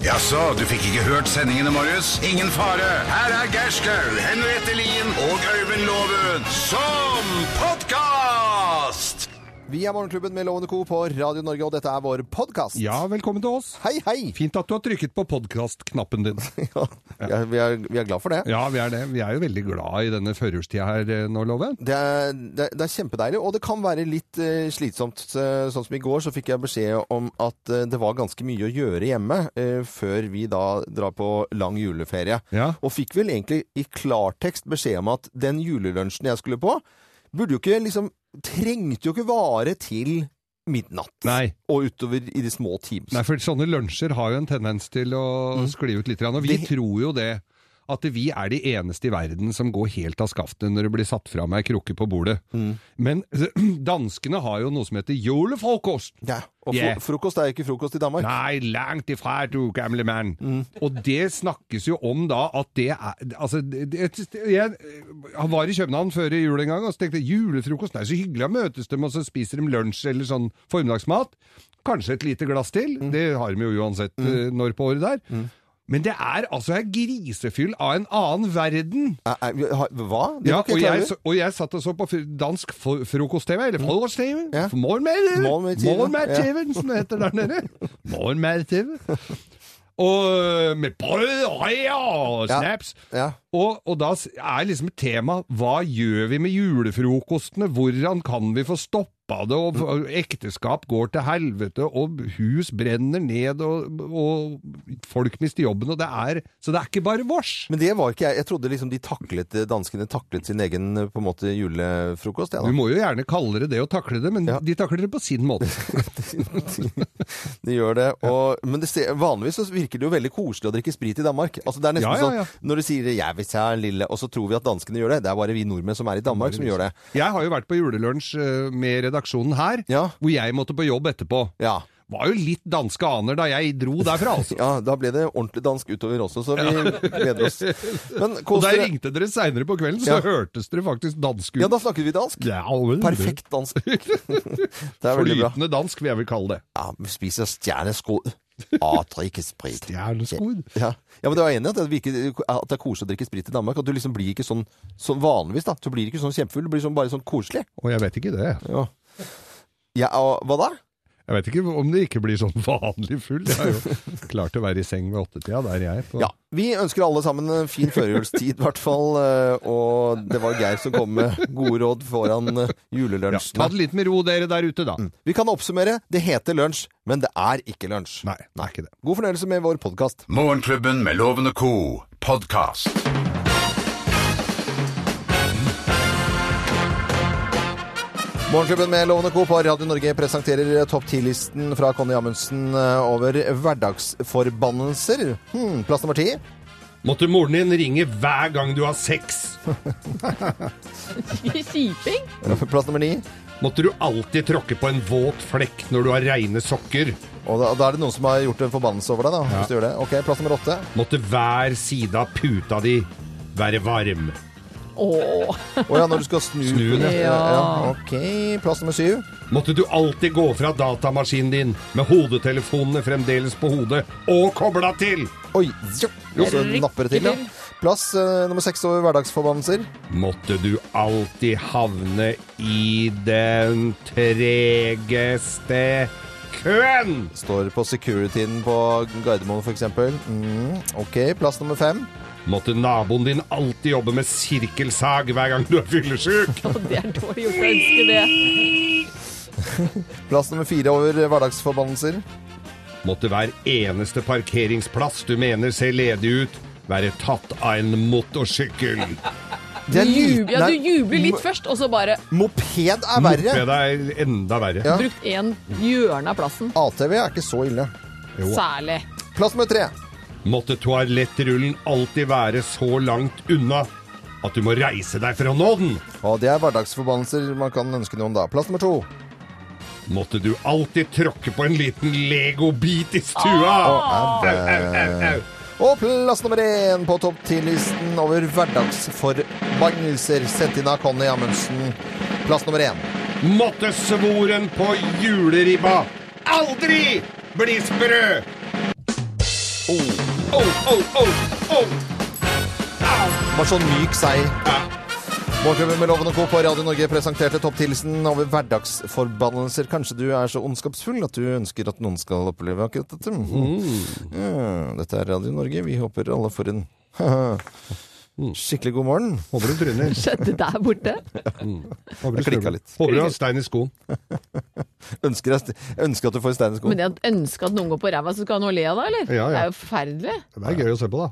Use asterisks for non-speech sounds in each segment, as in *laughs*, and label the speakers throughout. Speaker 1: Jaså, du fikk ikke hørt sendingene, Marius? Ingen fare. Her er Gerskaug, Henriette Lien og Øyvind Loven som podkast!
Speaker 2: Vi er Morgenklubben med Lovende Co. på Radio Norge, og dette er vår podkast.
Speaker 3: Ja, velkommen til oss.
Speaker 2: Hei, hei!
Speaker 3: Fint at du har trykket på podkast-knappen din.
Speaker 2: Ja, vi, er, vi er glad for det.
Speaker 3: Ja, vi er det. Vi er jo veldig glad i denne førjulstida her eh, nå, Loven.
Speaker 2: Det er, det, er- det er kjempedeilig, og det kan være litt eh, slitsomt. Eh, Sånn som i går så fikk jeg beskjed om at eh, det var ganske mye å gjøre hjemme eh, før vi da drar på lang juleferie.
Speaker 3: Ja.
Speaker 2: Og fikk vel egentlig i klartekst beskjed om at den julelunsjen jeg skulle på, burde jo ikke liksom Trengte jo ikke vare til midnatt.
Speaker 3: Nei.
Speaker 2: Og utover i de små times.
Speaker 3: Nei, for sånne lunsjer har jo en tendens til å skli ut litt. grann, Og vi
Speaker 2: Det-
Speaker 3: tror jo det. At vi er de eneste i verden som går helt av skaftet når det blir satt fram ei krukke på bordet. Men *clears throat* danskene har jo noe som heter julefrokost.
Speaker 2: Ja, og
Speaker 3: Yeah.
Speaker 2: fro frokost er jo ikke frokost i Danmark.
Speaker 3: Nei, langt ifra, du gamle mann. Og det snakkes jo om da at det er Altså, det, det- jeg, jeg var i København før i jul en gang og så tenkte jeg, julefrokost, det er så hyggelig, da møtes de, og så spiser de lunsj eller sånn formiddagsmat. Kanskje et lite glass til, det har de jo uansett eh, når på året der. Men det er altså ei grisefyll av en annen verden.
Speaker 2: Nei, nei, vi har- Hva? Det
Speaker 3: Ja,
Speaker 2: er ikke
Speaker 3: og jeg,
Speaker 2: klar over.
Speaker 3: så- og jeg satt og så på fr- dansk fro- frokost-TV, eller frokost-TV,
Speaker 2: Mm. Ja.
Speaker 3: morgenmad-TV,
Speaker 2: Morgenmad-TV,
Speaker 3: morgenmad-TV, som det heter der
Speaker 2: *laughs*
Speaker 3: nede. Morgenmad-TV. Og eh, med brød og rejer og
Speaker 2: Ja.
Speaker 3: snaps.
Speaker 2: Ja.
Speaker 3: Og, og da s- er liksom tema, hva gjør vi med julefrokostene, hvordan kan vi få stoppa det, og, og ekteskap går til helvete, og hus brenner ned, og, og folk mister jobben, og det er, så det er ikke bare vårs.
Speaker 2: Men det var ikke jeg. Jeg trodde liksom de taklet, danskene taklet sin egen eh, på en måte julefrokost. Jeg,
Speaker 3: Du
Speaker 2: da.
Speaker 3: må jo gjerne kalle det det å takle det, men
Speaker 2: Ja.
Speaker 3: de takler det på sin måte.
Speaker 2: *laughs* De gjør det. Og, men det, ser- vanligvis så virker det jo veldig koselig å drikke sprit i Danmark. Altså det er nesten
Speaker 3: Ja, ja, ja.
Speaker 2: sånn når du sier 'jeg vil ta en lille', og så tror vi at danskene gjør det. Det er bare vi nordmenn som er i Danmark som gjør det.
Speaker 3: Jeg har jo vært på julelunsj eh, med redaksjonen her,
Speaker 2: Ja.
Speaker 3: hvor jeg måtte på jobb etterpå.
Speaker 2: Ja.
Speaker 3: Var jo litt danske aner da jeg dro derfra, altså.
Speaker 2: *laughs* ja, da ble det ordentlig dansk utover også, så vi gleder oss. Men
Speaker 3: Og
Speaker 2: kos
Speaker 3: der
Speaker 2: dere.
Speaker 3: ringte dere seinere på kvelden, så
Speaker 2: Ja.
Speaker 3: hørtes dere faktisk danske ut.
Speaker 2: Ja, da snakket vi dansk.
Speaker 3: Det er alle-
Speaker 2: Perfekt dansk. *laughs* Det er veldig bra.
Speaker 3: Flytende dansk, vil jeg vel kalle det.
Speaker 2: Ja, Ah, vi spiser
Speaker 3: *laughs*
Speaker 2: stjerneskod og drikker sprit.
Speaker 3: Stjerneskodd.
Speaker 2: Ja. ja, men det var enig i at det, virker, at det er koselig å drikke sprit i Danmark. At du liksom blir ikke sånn, sånn vanligvis, da. Du blir ikke sånn kjempefull, du blir sånn, bare sånn koselig.
Speaker 3: Og jeg vet ikke det.
Speaker 2: Ja. Ja, og hva da?
Speaker 3: Jeg vet ikke om det ikke blir sånn *laughs* vanlig full. Jeg har jo klart å være i seng ved åttetida, der jeg er. på-
Speaker 2: Ja, Vi ønsker alle sammen en fin førjulstid, i hvert fall. eh, Og det var Geir som kom med gode råd foran eh,
Speaker 3: Ja, Ta
Speaker 2: julelunsjen.
Speaker 3: det litt med ro, dere der ute, da.
Speaker 2: Vi kan oppsummere. Det heter lunsj, men det er ikke lunsj.
Speaker 3: Nei, det er ikke det.
Speaker 2: God fornøyelse med vår podkast.
Speaker 1: Morgenklubben med Loven og co. podkast.
Speaker 2: Morgenklubben med Lovende Co. på Radio Norge presenterer topp 10-listen fra Conny Amundsen eh, over hverdagsforbannelser. Hmm, plass nummer ti.
Speaker 3: Måtte moren din ringe hver gang du har sex?
Speaker 4: Siping?
Speaker 2: *laughs* Plass nummer ni.
Speaker 3: Måtte du alltid tråkke på en våt flekk når du har reine sokker?
Speaker 2: Og da, da er det noen som har gjort en forbannelse over deg, da. Hvis du gjør det. Ok, Plass nummer åtte.
Speaker 3: Måtte hver side av puta di være varm?
Speaker 4: Åh.
Speaker 2: Å ja, når du skal snu.
Speaker 3: Snu den, ja.
Speaker 2: Ok. Plass nummer syv.
Speaker 3: Måtte du alltid gå fra datamaskinen din med hodetelefonene fremdeles på hodet og kobla til?
Speaker 2: Oi, jo, så
Speaker 4: Rykker
Speaker 2: napper det til, ja.
Speaker 4: til.
Speaker 2: Plass eh, nummer seks over hverdagsforbannelser.
Speaker 3: Måtte du alltid havne i den tregeste køen?
Speaker 2: Står på securityen på Gardermoen, f.eks. Mm, ok, plass nummer fem.
Speaker 3: Måtte naboen din alltid jobbe med sirkelsag hver gang du er fyllesyk?
Speaker 4: Og det er dårlig gjort å ønske det.
Speaker 2: Plass nummer fire over hverdagsforbannelser.
Speaker 3: Måtte hver eneste parkeringsplass du mener ser ledig ut, være tatt av en *laughs* motorsykkel?
Speaker 2: Det er
Speaker 4: Du
Speaker 2: liten-
Speaker 4: jubler, ja,
Speaker 2: nei,
Speaker 4: du jubler
Speaker 2: mo-
Speaker 4: litt først, og så bare
Speaker 2: Moped er verre.
Speaker 3: Moped er enda verre.
Speaker 2: Ja.
Speaker 4: brukt en hjørne av plassen.
Speaker 2: ATV er ikke så ille.
Speaker 3: Jo.
Speaker 4: Særlig.
Speaker 2: Plass nummer tre.
Speaker 3: Måtte toalettrullen alltid være så langt unna at du må reise deg for å nå den?
Speaker 2: Og det er hverdagsforbannelser man kan ønske noen da. Plass nummer to.
Speaker 3: Måtte du alltid tråkke på en liten legobit i stua? Au, au, au, au.
Speaker 2: Og plass nummer én på topp 10-listen over hverdagsforbannelser. Sendt inn av Conny Amundsen. Plass nummer én.
Speaker 3: Måtte svoren på juleribba aldri bli sprø!
Speaker 2: Bare sånn myk seier. Morgenklubben med Loven og Co. på Radio Norge presenterte topptilsen over hverdagsforbannelser. Kanskje du er så ondskapsfull at du ønsker at noen skal oppleve akkurat dette. Mhm. Ja, Dette er Radio Norge. Vi håper alle får en skikkelig god morgen.
Speaker 3: Håper du tryner.
Speaker 4: Skjedde der borte?
Speaker 3: Håper du
Speaker 2: Jeg klikket
Speaker 3: snubler.
Speaker 2: litt.
Speaker 3: Håper du har stein i skoen.
Speaker 2: Ønsker, deg- ønsker at du får stein i skoen.
Speaker 4: Men jeg ønsker at noen går på ræva, så skal han nå le av deg, eller?
Speaker 3: Ja, ja.
Speaker 4: Det er jo forferdelig.
Speaker 3: Det er gøy å se på, da.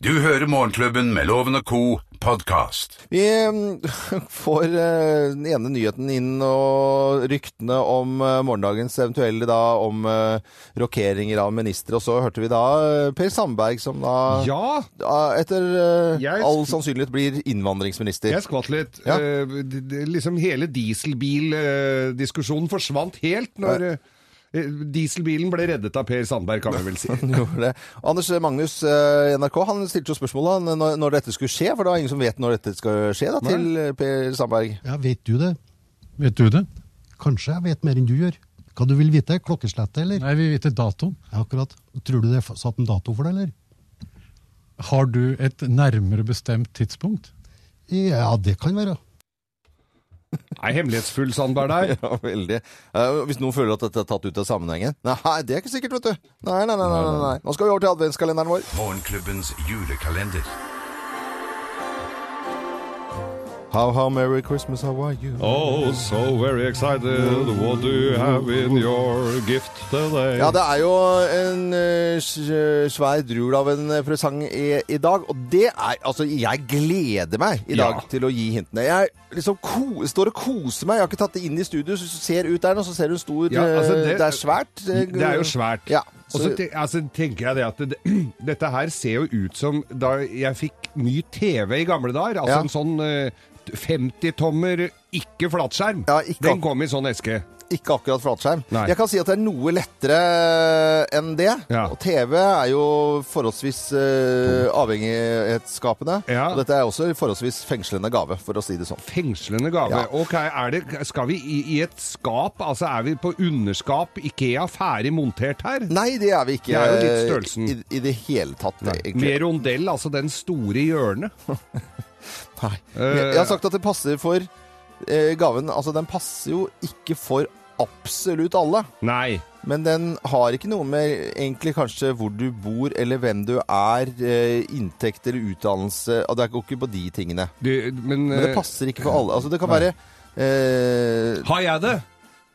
Speaker 1: Du hører Morgenklubben med Loven og Co. podkast.
Speaker 2: Vi mm, får eh, den ene nyheten inn og ryktene om eh, morgendagens eventuelle da om eh, rokeringer av ministre, og så hørte vi da eh, Per Sandberg som da
Speaker 3: Ja!
Speaker 2: da etter eh,
Speaker 3: Jeg-
Speaker 2: all sannsynlighet blir innvandringsminister.
Speaker 3: Jeg skvatt litt.
Speaker 2: Ja.
Speaker 3: Eh, d- d- liksom hele dieselbildiskusjonen forsvant helt når eh, dieselbilen ble reddet av Per Sandberg, kan vi
Speaker 2: *laughs*
Speaker 3: vel si.
Speaker 2: Han *laughs* gjorde det. Anders Magnus eh, i NRK han stilte jo spørsmålet han, når, når dette skulle skje, for det var ingen som vet når dette skal skje da, til eh, Per Sandberg. *laughs*
Speaker 5: Ja, vet du det? Vet du det? Kanskje jeg vet mer enn du gjør. Hva du vil vite? Klokkeslettet, eller?
Speaker 6: Nei, vi vet ikke datoen.
Speaker 5: Ja, akkurat. Tror du det er f- satt en dato for det, eller?
Speaker 6: Har du et nærmere bestemt tidspunkt?
Speaker 5: Ja, det kan være.
Speaker 3: Nei, hemmelighetsfull Sandberg der.
Speaker 2: Ja, veldig. Eh, hvis noen føler at dette er tatt ut av sammenhengen Nei, det er ikke sikkert, vet du. Nei, nei, nei. nei, nei. Nå skal vi over til adventskalenderen vår.
Speaker 1: Morgenklubbens julekalender.
Speaker 2: How, how, merry Christmas, how are you?
Speaker 3: Oh, so very excited. What do you have in your gift today?
Speaker 2: Ja, det er jo en eh, sj- svær drul av en eh, presang i, i dag, og det er Altså, jeg gleder meg i dag
Speaker 3: Ja.
Speaker 2: til å gi hintene. Jeg liksom ko, står og koser meg. Jeg har ikke tatt det inn i studio, så du ser ut der nå, så ser du en stor
Speaker 3: Ja, altså,
Speaker 2: eh,
Speaker 3: det-
Speaker 2: Det er svært. eh,
Speaker 3: Det er jo svært.
Speaker 2: Ja.
Speaker 3: Og så te- altså, tenker jeg det *clears throat* at det, dette her ser jo ut som da jeg fikk mye TV i gamle dager. Altså
Speaker 2: Ja.
Speaker 3: en sånn eh, 50-tommer, ikke flatskjerm.
Speaker 2: Ja, ikke-
Speaker 3: Den kom i sånn eske.
Speaker 2: Ikke akkurat flatskjerm.
Speaker 3: Nei.
Speaker 2: Jeg kan si at det er noe lettere enn det.
Speaker 3: Ja.
Speaker 2: Og TV er jo forholdsvis eh, avhengighetsskapende.
Speaker 3: Ja.
Speaker 2: Og dette er også forholdsvis fengslende gave, for å si det sånn.
Speaker 3: Fengslende gave.
Speaker 2: Ja.
Speaker 3: Ok, er det, Skal vi i, i et skap? Altså Er vi på underskap? Ikea ferdig montert her?
Speaker 2: Nei, det er vi ikke
Speaker 3: Det er jo litt
Speaker 2: eh,
Speaker 3: størrelsen.
Speaker 2: i, i det hele tatt, egentlig.
Speaker 3: Med rondell, altså den store i
Speaker 2: *laughs*
Speaker 3: hjørnet.
Speaker 2: Nei.
Speaker 3: Eh,
Speaker 2: Jeg har sagt at det passer for eh, gaven Altså, den passer jo ikke for absolutt alle.
Speaker 3: Nei.
Speaker 2: Men den har ikke noe med egentlig kanskje hvor du bor, eller hvem du er, eh, inntekt eller utdannelse Og Det er ikke på de tingene.
Speaker 3: Du, men
Speaker 2: Men det
Speaker 3: eh,
Speaker 2: passer ikke for alle. Altså, det kan være eh,
Speaker 3: Har jeg det?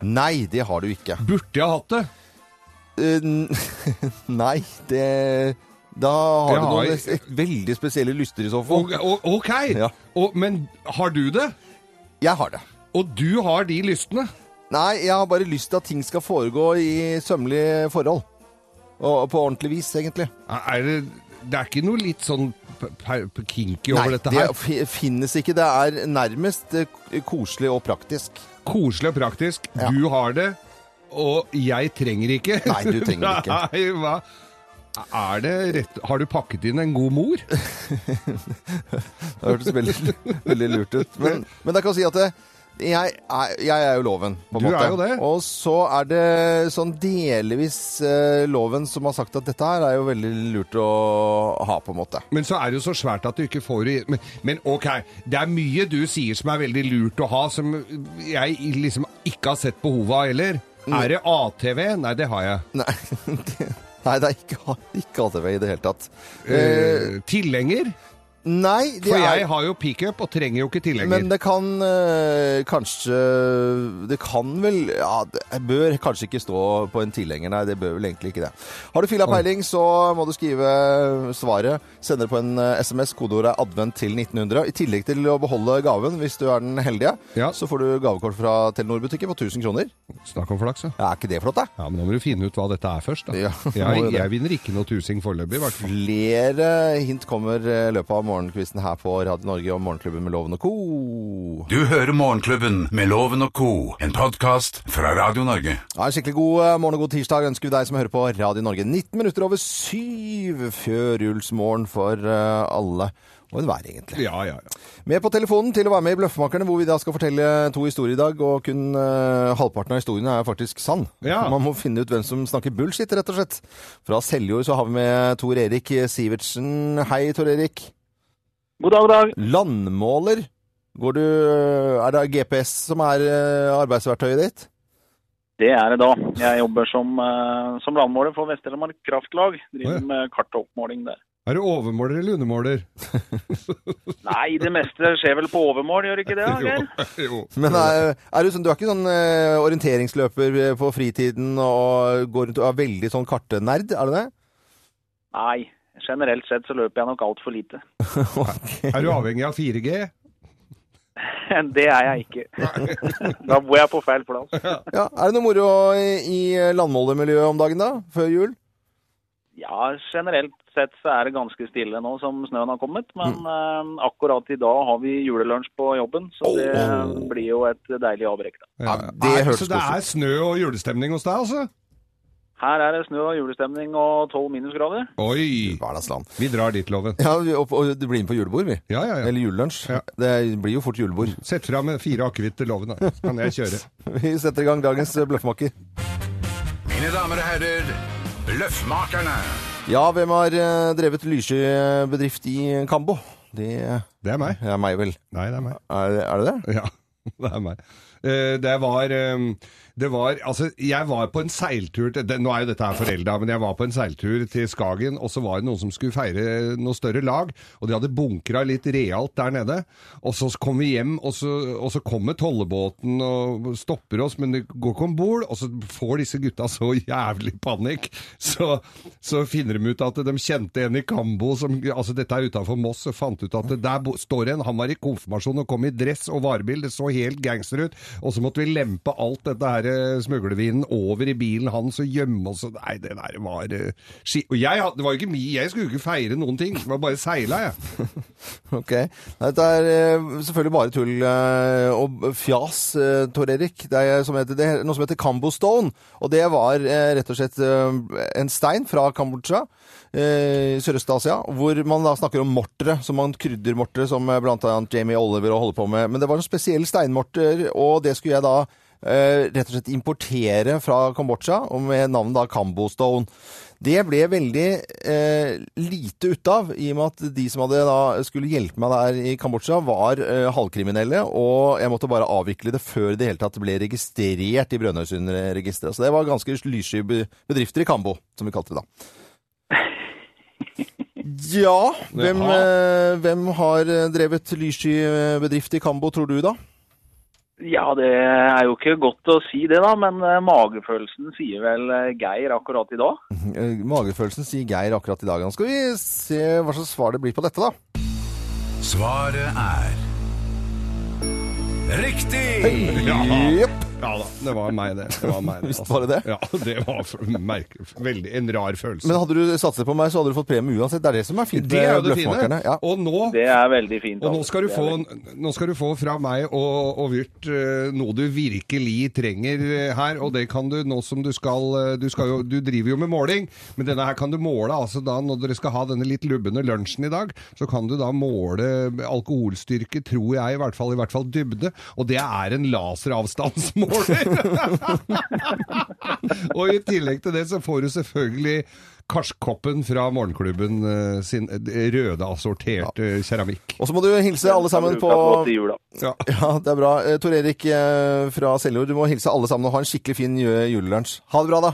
Speaker 2: Nei, det har du ikke.
Speaker 3: Burde jeg hatt det?
Speaker 2: Eh, n- *laughs* nei, det Da har
Speaker 3: Det
Speaker 2: du
Speaker 3: har
Speaker 2: noen
Speaker 3: jeg-
Speaker 2: es- veldig spesielle lyster i så fall.
Speaker 3: Og, og, ok!
Speaker 2: Ja.
Speaker 3: Og, men har du det?
Speaker 2: Jeg har det.
Speaker 3: Og du har de lystene?
Speaker 2: Nei, jeg har bare lyst til at ting skal foregå i sømmelige forhold. Og på ordentlig vis, egentlig.
Speaker 3: Er det, det er ikke noe litt sånn p- p- kinky over dette
Speaker 2: det
Speaker 3: her?
Speaker 2: fi- finnes ikke. Det er nærmest eh, k- koselig og praktisk.
Speaker 3: Koselig og praktisk.
Speaker 2: Ja.
Speaker 3: Du har det, og jeg trenger ikke.
Speaker 2: Nei, du trenger ikke.
Speaker 3: *laughs* Nei, hva? Er det rett Har du pakket inn en god mor?
Speaker 2: Det hørtes veldig, *laughs* veldig lurt ut. Men, men jeg kan si at det, jeg, er, jeg er jo loven, på en
Speaker 3: Du
Speaker 2: måte.
Speaker 3: er jo det.
Speaker 2: Og så er det sånn delvis eh, loven som har sagt at dette her er jo veldig lurt å ha, på en måte.
Speaker 3: Men så er det jo så svært at du ikke får det i- men, men ok, det er mye du sier som er veldig lurt å ha, som jeg liksom ikke har sett behovet av heller.
Speaker 2: Mm.
Speaker 3: Er det ATV? Nei, det har jeg.
Speaker 2: Nei, *laughs* det, nei, det er ikke, ikke ATV i det hele tatt. Eh,
Speaker 3: Eh, tilhenger?
Speaker 2: nei, det
Speaker 3: For
Speaker 2: er
Speaker 3: jeg har jo pickup og trenger jo ikke tilhenger.
Speaker 2: Men det kan eh, kanskje Det kan vel Ja, det bør kanskje ikke stå på en tilhenger, nei. Det bør vel egentlig ikke det. Har du filla peiling, så må du skrive svaret. Send det på en eh, SMS. Kodeordet er 'advent' til 1900. I tillegg til å beholde gaven, hvis du er den heldige,
Speaker 3: Ja.
Speaker 2: så får du gavekort fra Telenor-butikken på 1000 kroner.
Speaker 3: Snakk om flaks, ja.
Speaker 2: Ja, er ikke det flott, da?
Speaker 3: Ja, Men da må du finne ut hva dette er først, da.
Speaker 2: Ja, *laughs* må jo
Speaker 3: jeg,
Speaker 2: det.
Speaker 3: jeg vinner ikke noe tusing foreløpig, i hvert fall.
Speaker 2: Flere hint kommer eh, i løpet av morgenkvisten her på Radio Norge og Morgenklubben med Loven og co.
Speaker 1: Du hører Morgenklubben med Loven og Co., en podkast fra Radio Norge.
Speaker 2: Ja, en skikkelig god eh, morgen og god tirsdag ønsker vi deg som hører på Radio Norge. 19 minutter over syv førjulsmorgen for eh, alle. og enhver, egentlig.
Speaker 3: Ja, ja, ja.
Speaker 2: Med på telefonen til å være med i Bløffmakerne, hvor vi da skal fortelle to historier i dag. Og kun eh, halvparten av historiene er faktisk sann.
Speaker 3: Ja.
Speaker 2: Man må finne ut hvem som snakker bullshit, rett og slett. Fra Seljord så har vi med Tor Erik Sivertsen. Hei, Tor Erik.
Speaker 7: God dag, god dag.
Speaker 2: Landmåler. Går du Er det GPS som er eh, arbeidsverktøyet ditt?
Speaker 7: Det er det da. Jeg jobber som, eh, som landmåler for Vest-Telemark Kraftlag.
Speaker 3: Å,
Speaker 7: Driver
Speaker 3: ja.
Speaker 7: med kartoppmåling der.
Speaker 3: Er du overmåler eller undermåler?
Speaker 7: Nei, det meste skjer vel på overmål, gjør ikke det? Geir?
Speaker 3: *laughs* jo.
Speaker 2: Men er, er du, sånn, du er ikke sånn eh, orienteringsløper eh, på fritiden og går rundt og er veldig sånn kartenerd, er du
Speaker 3: *laughs*
Speaker 2: det?
Speaker 7: Nei, generelt sett så løper jeg nok altfor lite. *laughs*
Speaker 3: Er du avhengig av 4G?
Speaker 7: Det er jeg ikke. *laughs* Da bor jeg på feil plass.
Speaker 2: Ja, Er det noe moro i, i landmålermiljøet om dagen, da? Før jul?
Speaker 7: Ja, generelt sett så er det ganske stille nå som snøen har kommet. Men
Speaker 3: Mm.
Speaker 7: eh, akkurat i dag har vi julelunsj på jobben, så det blir jo et deilig avbrekk. da.
Speaker 2: Ja, det
Speaker 3: Er-
Speaker 2: hørtes
Speaker 3: Så det er snø og julestemning hos deg, altså?
Speaker 7: Her er det snø og julestemning og tolv minusgrader.
Speaker 3: Oi!
Speaker 2: Hverdagsland.
Speaker 3: Vi drar dit, Loven.
Speaker 2: Ja, vi- og, og det blir med på julebord, vi.
Speaker 3: Ja, ja, ja.
Speaker 2: Eller julelunsj.
Speaker 3: Ja.
Speaker 2: Det blir jo fort julebord. *laughs*
Speaker 3: Sett fram fire akevitt til Loven, da. Så kan jeg kjøre.
Speaker 2: Vi setter i gang dagens eh, bløffmaker.
Speaker 1: Mine damer og herrer, Løffmakerne.
Speaker 2: Ja, hvem har eh, drevet lyskybedrift i Kambo? Det
Speaker 3: Det er meg.
Speaker 2: er meg, vel.
Speaker 3: Nei, det er meg.
Speaker 2: Er, det- er det det?
Speaker 3: Ja, *laughs* det er meg. Eh, Det var, eh, det var Altså, jeg var på en seiltur til det- Nå er jo dette her forelda, men jeg var på en seiltur til Skagen, og så var det noen som skulle feire noe større lag, og de hadde bunkra litt realt der nede. Og så kom vi hjem, og så, og så kommer tollebåten og stopper oss, men det går ikke om bord, og så får disse gutta så jævlig panikk. Så, så finner de ut at de kjente en i Kambo som Altså, dette er utafor Moss, og fant ut at det der bo- står en. Han var i konfirmasjon og kom i dress og varebil. Det så helt gangster ut. Og så måtte vi lempe alt dette her eh, smuglervinen over i bilen hans og gjemme oss. og Nei, det der var eh, ski... Og jeg, had- det var jo ikke mi, jeg skulle jo ikke feire noen ting. Det var bare seila, jeg. *laughs*
Speaker 2: *laughs* Ok. Nei, Dette er eh, selvfølgelig bare tull eh, og fjas, eh, Tor Erik. Det er som heter, det er noe som heter Cambo Stone. Og det var eh, rett og slett eh, en stein fra Kambodsja eh, i Sørøst-Asia, hvor man da snakker om mortere, som man krydder mortere, som eh, blant annet Jamie Oliver holder på med. Men det var en spesiell steinmorter, og det skulle jeg da eh, rett og slett importere fra Kambodsja, og med navnet da Cambo Stone. Det ble veldig eh, lite ut av, i og med at de som hadde da skulle hjelpe meg der i Kambodsja, var eh, halvkriminelle, og jeg måtte bare avvikle det før det hele tatt ble registrert i Brønnøysundregisteret. Så det var ganske lyssky be- bedrifter i Kambo, som vi kalte det da. Ja, hvem, eh, hvem har eh, drevet lyssky eh, bedrift i Kambo, tror du da?
Speaker 7: Ja, det er jo ikke godt å si det, da. Men eh, magefølelsen sier vel eh, Geir akkurat i dag.
Speaker 2: Eh, Magefølelsen sier Geir akkurat i dag. Nå skal vi se hva slags svar det blir på dette, da.
Speaker 1: Svaret er Riktig!
Speaker 3: Ja,
Speaker 2: Jepp.
Speaker 3: ja da. Det var meg, det. det, var meg, det altså.
Speaker 2: Visst var det det?
Speaker 3: Ja, det var for- merke, veldig, en rar følelse.
Speaker 2: Men hadde du satset på meg, så hadde du fått premie uansett. Det er det som er fint
Speaker 3: det er jo
Speaker 2: med
Speaker 3: det fine.
Speaker 2: bløffmakerne. Ja.
Speaker 3: Og nå
Speaker 7: Det er veldig fint.
Speaker 3: *laughs* Og nå
Speaker 7: altså.
Speaker 3: skal du
Speaker 7: Det er
Speaker 3: få,
Speaker 7: veldig-
Speaker 3: nå skal du få fra meg og, og Vyrt eh, noe du virkelig trenger eh, her, og det kan du nå som du skal eh, Du, skal jo, du driver jo med måling, men denne her kan du måle altså da når dere skal ha denne litt lubne lunsjen i dag, så kan du da måle alkoholstyrke, tror jeg, i hvert fall, i hvert fall dybde, og det er en laseravstandsmåler! *laughs* og i tillegg til det så får du selvfølgelig Karskoppen fra morgenklubben eh, sin eh, røde assorterte keramikk.
Speaker 2: Og så må du hilse alle sammen
Speaker 7: Bruker
Speaker 2: på
Speaker 7: godt i jula.
Speaker 3: Ja.
Speaker 2: Ja, det er bra. Eh, Tor Erik eh, fra Seljord, du må hilse alle sammen og ha en skikkelig fin ju- julelunsj. Ha det bra, da.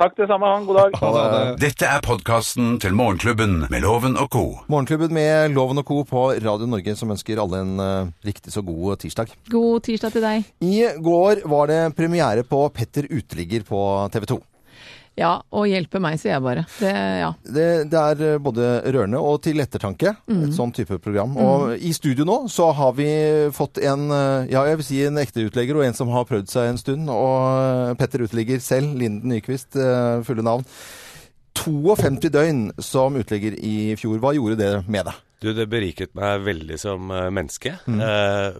Speaker 7: Takk det samme, han. God dag.
Speaker 1: Dette er podkasten til Morgenklubben med Loven og co.
Speaker 2: Morgenklubben med Loven og Co. på Radio Norge, som ønsker alle en eh, riktig så god tirsdag.
Speaker 4: God tirsdag til deg.
Speaker 2: I går var det premiere på Petter Uteligger på TV 2.
Speaker 4: Ja, og hjelpe meg, sier jeg bare. Det, ja.
Speaker 2: det, det er eh, både rørende og til ettertanke, et sånn type program. Og i studio nå så har vi fått en, eh, ja, jeg vil si en ekte utlegger, og en som har prøvd seg en stund. Og eh, Petter Uteligger selv, Linden Nyquist, eh, fulle navn. 52 døgn som uteligger i fjor. Hva gjorde det med deg?
Speaker 8: Du, det beriket meg veldig som eh, menneske. Eh,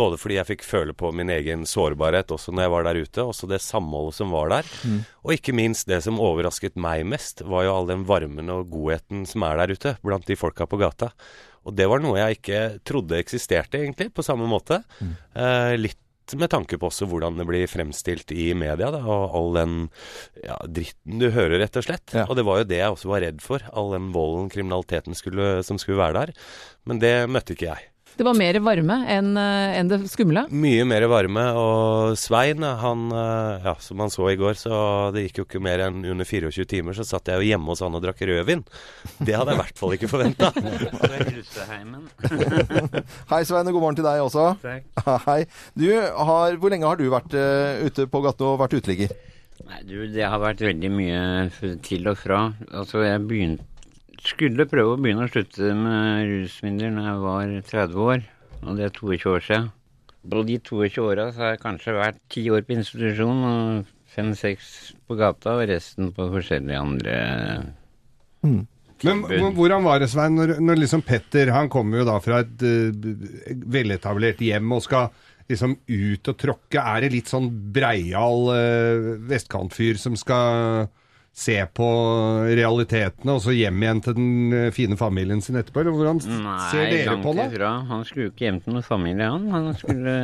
Speaker 8: både fordi jeg fikk føle på min egen sårbarhet også når jeg var der ute, også det samholdet som var der. Og ikke minst det som overrasket meg mest, var jo all den varmen og godheten som er der ute blant de folka på gata. Og det var noe jeg ikke trodde eksisterte, egentlig, på samme måte. Eh, litt med tanke på også hvordan det blir fremstilt i media, da, og all den ja, dritten du hører, rett og slett.
Speaker 2: Ja.
Speaker 8: Og det var jo det jeg også var redd for, all den volden, kriminaliteten skulle, som skulle være der. Men det møtte ikke jeg.
Speaker 4: Det var mer varme enn eh, enn det skumle.
Speaker 8: Mye mer varme, og Svein, han, eh, ja, som han så i går, så det gikk jo ikke mer enn under 24 timer, så satt jeg jo hjemme hos han og drakk rødvin. Det hadde jeg i hvert fall ikke forventa.
Speaker 2: Hei, Svein, og god morgen til deg også. *laughs* Hei. Du, har, hvor lenge har du vært eh, ute på gata og vært uteligger?
Speaker 9: Nei, du, det har vært veldig mye f- til og fra. Altså, jeg begyn- skulle prøve å begynne å slutte med rusmidler når jeg var 30 år, og det er 22 år siden. På de 22 åra så har jeg kanskje vært 10 år på institusjon og 5-6 på gata, og resten på forskjellige andre
Speaker 3: Men hvor- hvordan var det, Svein, når, når liksom Petter Han kommer jo da fra et eh, veletablert hjem og skal liksom ut og tråkke. Er det litt sånn breial eh, vestkantfyr som skal se på realitetene, og så hjem igjen til den eh, fine familien sin etterpå? Eller hvordan s- ser
Speaker 9: Nei,
Speaker 3: dere
Speaker 9: langt
Speaker 3: på det?
Speaker 9: ifra. Han skulle jo ikke hjem til noen familie, han. Han skulle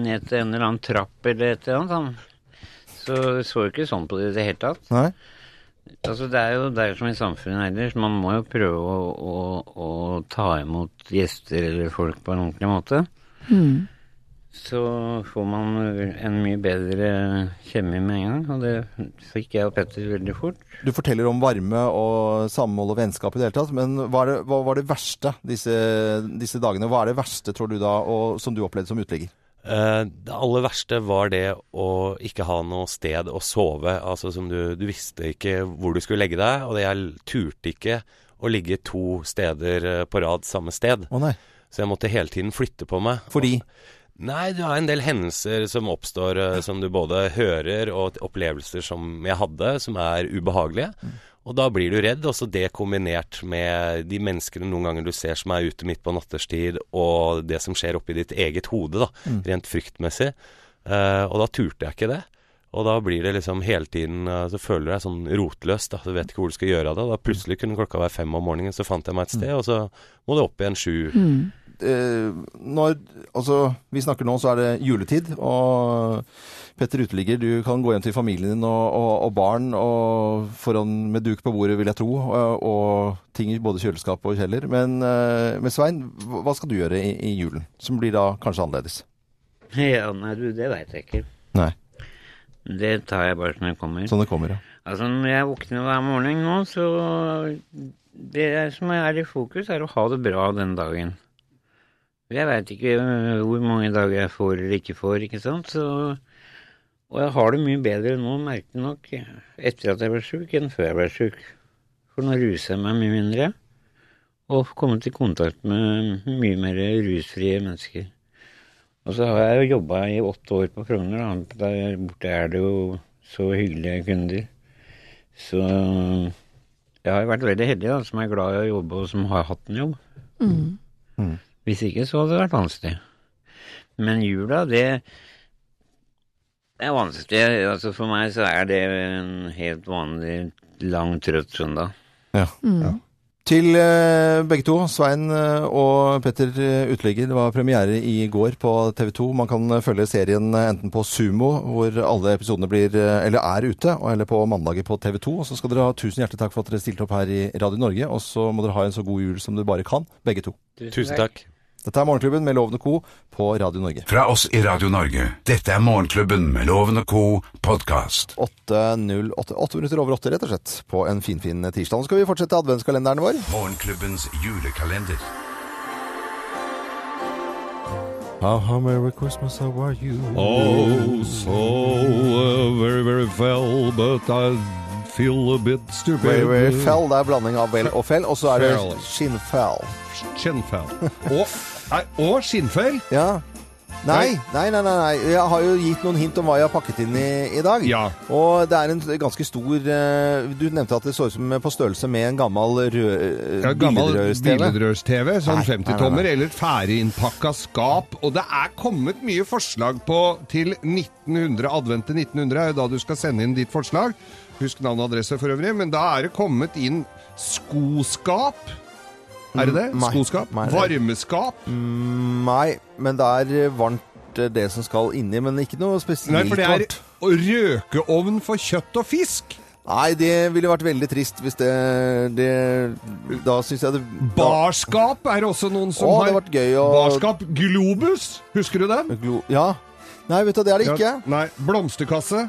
Speaker 9: ned til en eller annen trapp eller et eller annet. Han. Så så jo ikke sånn på det i det hele tatt.
Speaker 2: Nei.
Speaker 9: Altså, det er jo det er som i samfunnet ellers. Man må jo prøve å, å, å ta imot gjester eller folk på en ordentlig måte. Så får man en mye bedre kjemi med en gang, og det fikk jeg og Petter veldig fort. *laughs*
Speaker 2: Du forteller om varme og samhold og vennskap i det hele tatt, men hva, er det, hva var det verste disse, disse dagene? Hva er det verste, tror du da, og, som du opplevde som uteligger?
Speaker 8: Eh, Det aller verste var det å ikke ha noe sted å sove. Altså som du, du visste ikke hvor du skulle legge deg, og det jeg l- turte ikke å ligge to steder eh, på rad samme sted.
Speaker 2: Å nei.
Speaker 8: Så jeg måtte hele tiden flytte på meg.
Speaker 2: Fordi
Speaker 8: Nei, du har en del hendelser som oppstår, eh, som du både hører, og t- opplevelser som jeg hadde, som er ubehagelige. Og da blir du redd, også det kombinert med de menneskene noen ganger du ser som er ute midt på natterstid, og det som skjer oppi ditt eget hode, da, rent fryktmessig. Eh, og da turte jeg ikke det. Og da blir det liksom hele tiden eh, Så føler du deg sånn rotløs, da. Du vet ikke hvor du skal gjøre av det. Da plutselig kunne klokka være fem om morgenen, så fant jeg meg et sted, og så må du opp igjen sju.
Speaker 2: eh, når Altså, vi snakker nå, så er det juletid, og Petter uteligger, du kan gå hjem til familien din og, og, og barn og foran med duk på bordet, vil jeg tro, og, og ting i både kjøleskap og kjeller. Men, eh, men Svein, hva hva skal du gjøre i, i julen, som blir da kanskje annerledes?
Speaker 9: Ja, nei, du, det veit jeg ikke.
Speaker 2: Nei,
Speaker 9: Det tar jeg bare som det kommer.
Speaker 2: sånn det kommer, ja.
Speaker 9: Altså, når jeg våkner hver morgen nå, så Det som er i fokus, er å ha det bra den dagen. Jeg veit ikke øh, hvor mange dager jeg får eller ikke får, ikke sant. Så, og jeg har det mye bedre nå, merkelig nok, etter at jeg ble sjuk, enn før jeg ble sjuk. For nå ruser jeg meg mye mindre, og kommet i kontakt med mye mer rusfrie mennesker. Og så har jeg jo jobba i åtte år på Frogner, da. Der borte er det jo så hyggelige kunder. Så jeg har jo vært veldig heldig, da, som er glad i å jobbe, og som har hatt en jobb. Hvis ikke, så hadde det vært vanskelig. Men jula, det er vanskelig. Altså For meg så er det en helt vanlig lang, trøtt søndag.
Speaker 2: Ja.
Speaker 4: Mm.
Speaker 2: Til eh, begge to, Svein eh, og Petter eh, Uteligger. Det var premiere i går på TV 2. Man kan eh, følge serien eh, enten på Sumo, hvor alle episodene blir, eh, eller er ute, og- eller på mandager på TV 2. Og så skal dere ha tusen hjertelig takk for at dere stilte opp her i Radio Norge. Og så må dere ha en så god jul som dere bare kan, begge to.
Speaker 8: Tusen takk.
Speaker 2: Dette er Morgenklubben med Lovende Co. på Radio Norge.
Speaker 1: Fra oss i Radio Norge. Dette er Morgenklubben med Loven og Co. podkast.
Speaker 2: 8.08. Åtte minutter over åtte, rett og slett, på en finfin tirsdag. Nå skal vi fortsette adventskalenderen vår.
Speaker 1: Morgenklubbens julekalender.
Speaker 2: Aha, Merry Christmas, how are you?
Speaker 3: Oh, so uh, very, very well, but I feel a bit stupid.
Speaker 2: Very, very fell, det er blanding av vel og fell, og så er
Speaker 3: Fell.
Speaker 2: det skinnfell.
Speaker 3: Skinnfell. Og, nei, og skinnfell.
Speaker 2: Ja, Nei, nei, nei, nei, nei. Jeg har jo gitt noen hint om hva jeg har pakket inn i, i dag.
Speaker 3: Ja.
Speaker 2: Og det er en ganske stor eh, Du nevnte at det så ut som på størrelse med en gammel rød,
Speaker 3: Ja,
Speaker 2: eh,
Speaker 3: gammel
Speaker 2: bilrørs-TV.
Speaker 3: bilrørs-TV, sånn
Speaker 2: Nei, nei, nei, nei.
Speaker 3: 50-tommer, eller ferdiginnpakka skap. Og det er kommet mye forslag på til 1900, advent til 1900 er jo da du skal sende inn ditt forslag. Husk navn og adresse for øvrig, men da er det kommet inn skoskap. Er det det?
Speaker 2: Mm, nei.
Speaker 3: Skoskap?
Speaker 2: Nei, det- Mm,
Speaker 3: Varmeskap?
Speaker 2: Nei, men det er varmt eh, det som skal inni, men ikke noe spesielt
Speaker 3: Nei, for det er
Speaker 2: varmt.
Speaker 3: røkeovn for kjøtt og fisk.
Speaker 2: Nei, det ville vært veldig trist hvis det, det Da syns jeg det da-
Speaker 3: Barskap er også noen som
Speaker 2: Å, det
Speaker 3: har
Speaker 2: hadde vært gøy å
Speaker 3: Barskap Globus, husker du den?
Speaker 2: Glo- Ja. Nei, vet du, det er det ikke. Mm,
Speaker 3: Ja, nei. Blomsterkasse.